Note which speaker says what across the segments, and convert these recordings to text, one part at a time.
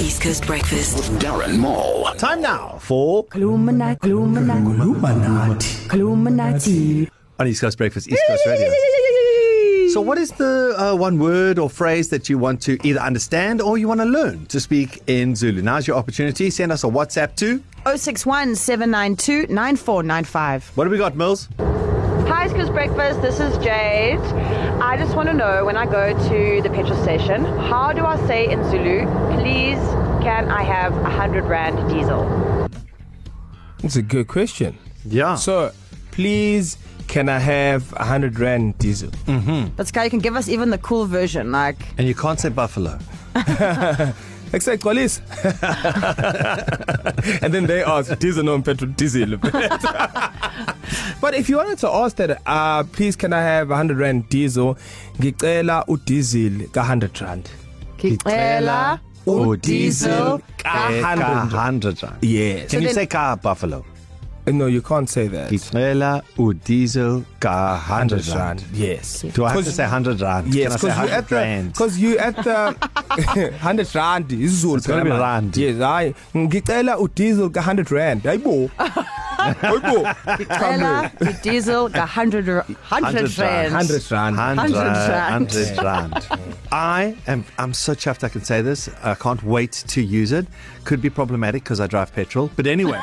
Speaker 1: East Coast Breakfast.
Speaker 2: Darren Moore.
Speaker 3: Time now for
Speaker 4: Illuminati, Illuminati,
Speaker 5: Illuminati.
Speaker 4: Illuminati.
Speaker 5: On East Coast Breakfast, East Coast Radio. So, what is the uh, one word or phrase that you want to either understand or you want to learn to speak in Zulu? Now's your opportunity. Send us a WhatsApp to.
Speaker 6: 061 792 9495.
Speaker 5: What do we got, Mills?
Speaker 7: Hi, Skills Breakfast. This is Jade. I just want to know when I go to the petrol station, how do I say in Zulu, please can I have a 100 Rand diesel?
Speaker 8: It's a good question.
Speaker 5: Yeah.
Speaker 8: So, please, can I have a hundred rand diesel?
Speaker 6: That's guy, you can give us even the cool version. Like,
Speaker 5: and you can't say buffalo.
Speaker 8: Except Colis. and then they ask diesel non petrol diesel. but if you wanted to ask that, uh, please can I have a hundred rand diesel? Ngicela u diesel ka hundred rand.
Speaker 6: Kicela
Speaker 5: Or
Speaker 6: diesel
Speaker 8: ka
Speaker 5: Hundred.
Speaker 8: 100.
Speaker 5: Hundred rand.
Speaker 8: Yes.
Speaker 5: Can you
Speaker 6: then-
Speaker 5: say ka buffalo?
Speaker 8: No, you can't say that.
Speaker 5: Kitrela u diesel ka hundred rand.
Speaker 8: Yes.
Speaker 5: Do I have to
Speaker 8: Because-
Speaker 5: say hundred rand?
Speaker 8: Yes,
Speaker 5: Can I say
Speaker 8: because
Speaker 5: hundred
Speaker 8: you at the
Speaker 5: rand?
Speaker 8: because you at the hundred rand isiZulu.
Speaker 5: It's gonna be
Speaker 8: phela man.
Speaker 5: rand.
Speaker 8: Yes, I ngicela udiesel ka hundred rand. Hayibo. Hayibo.
Speaker 6: Kicela diesel, the 100 100 rand.
Speaker 8: Hundred rand.
Speaker 5: Hundred
Speaker 6: rand.
Speaker 5: Hundred rand. I am. I'm so chuffed. I can say this. I can't wait to use it. Could be problematic because I drive petrol. But anyway,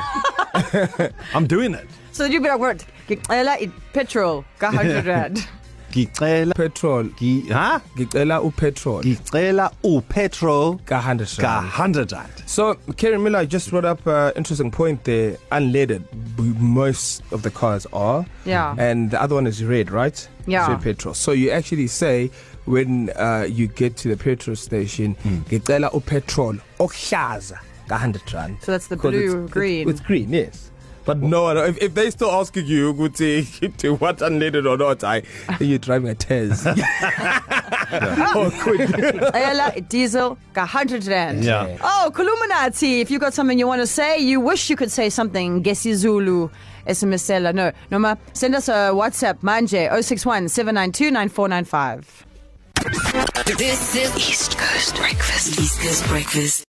Speaker 5: I'm doing it.
Speaker 6: So you be like, word. Kicela petrol, the 100 rand.
Speaker 5: Gicela,
Speaker 8: Petrol.
Speaker 5: gi, huh?
Speaker 8: Ngicela upetrol
Speaker 5: Gicela u petrol
Speaker 8: ka hundred
Speaker 5: ka
Speaker 8: rand.
Speaker 5: hundred rand.
Speaker 8: So Kerry Miller just brought up an uh, interesting point there. Unleaded, b- most of the cars are.
Speaker 6: Yeah.
Speaker 8: And the other one is red, right?
Speaker 6: Yeah.
Speaker 8: It's red petrol. So you actually say when uh, you get to the petrol station, ngicela mm. petrol okushaza ka100 rand.
Speaker 6: So that's the
Speaker 8: 'Cause
Speaker 6: blue,
Speaker 8: it's-
Speaker 6: green.
Speaker 8: It's, it's green, yes. But no, no if, if they still asking you, Guti, to what unleaded or not, I you're driving a Tez. oh, good.
Speaker 6: Kicela diesel, the 100 rand.
Speaker 5: Yeah.
Speaker 6: Oh, Kuluminati, if you got something you want to say, you wish you could say something, Gesi Zulu, SMSela. No, Noma, send us a WhatsApp, manje, 061 792 9495.
Speaker 1: This is East Coast Breakfast. East Coast Breakfast.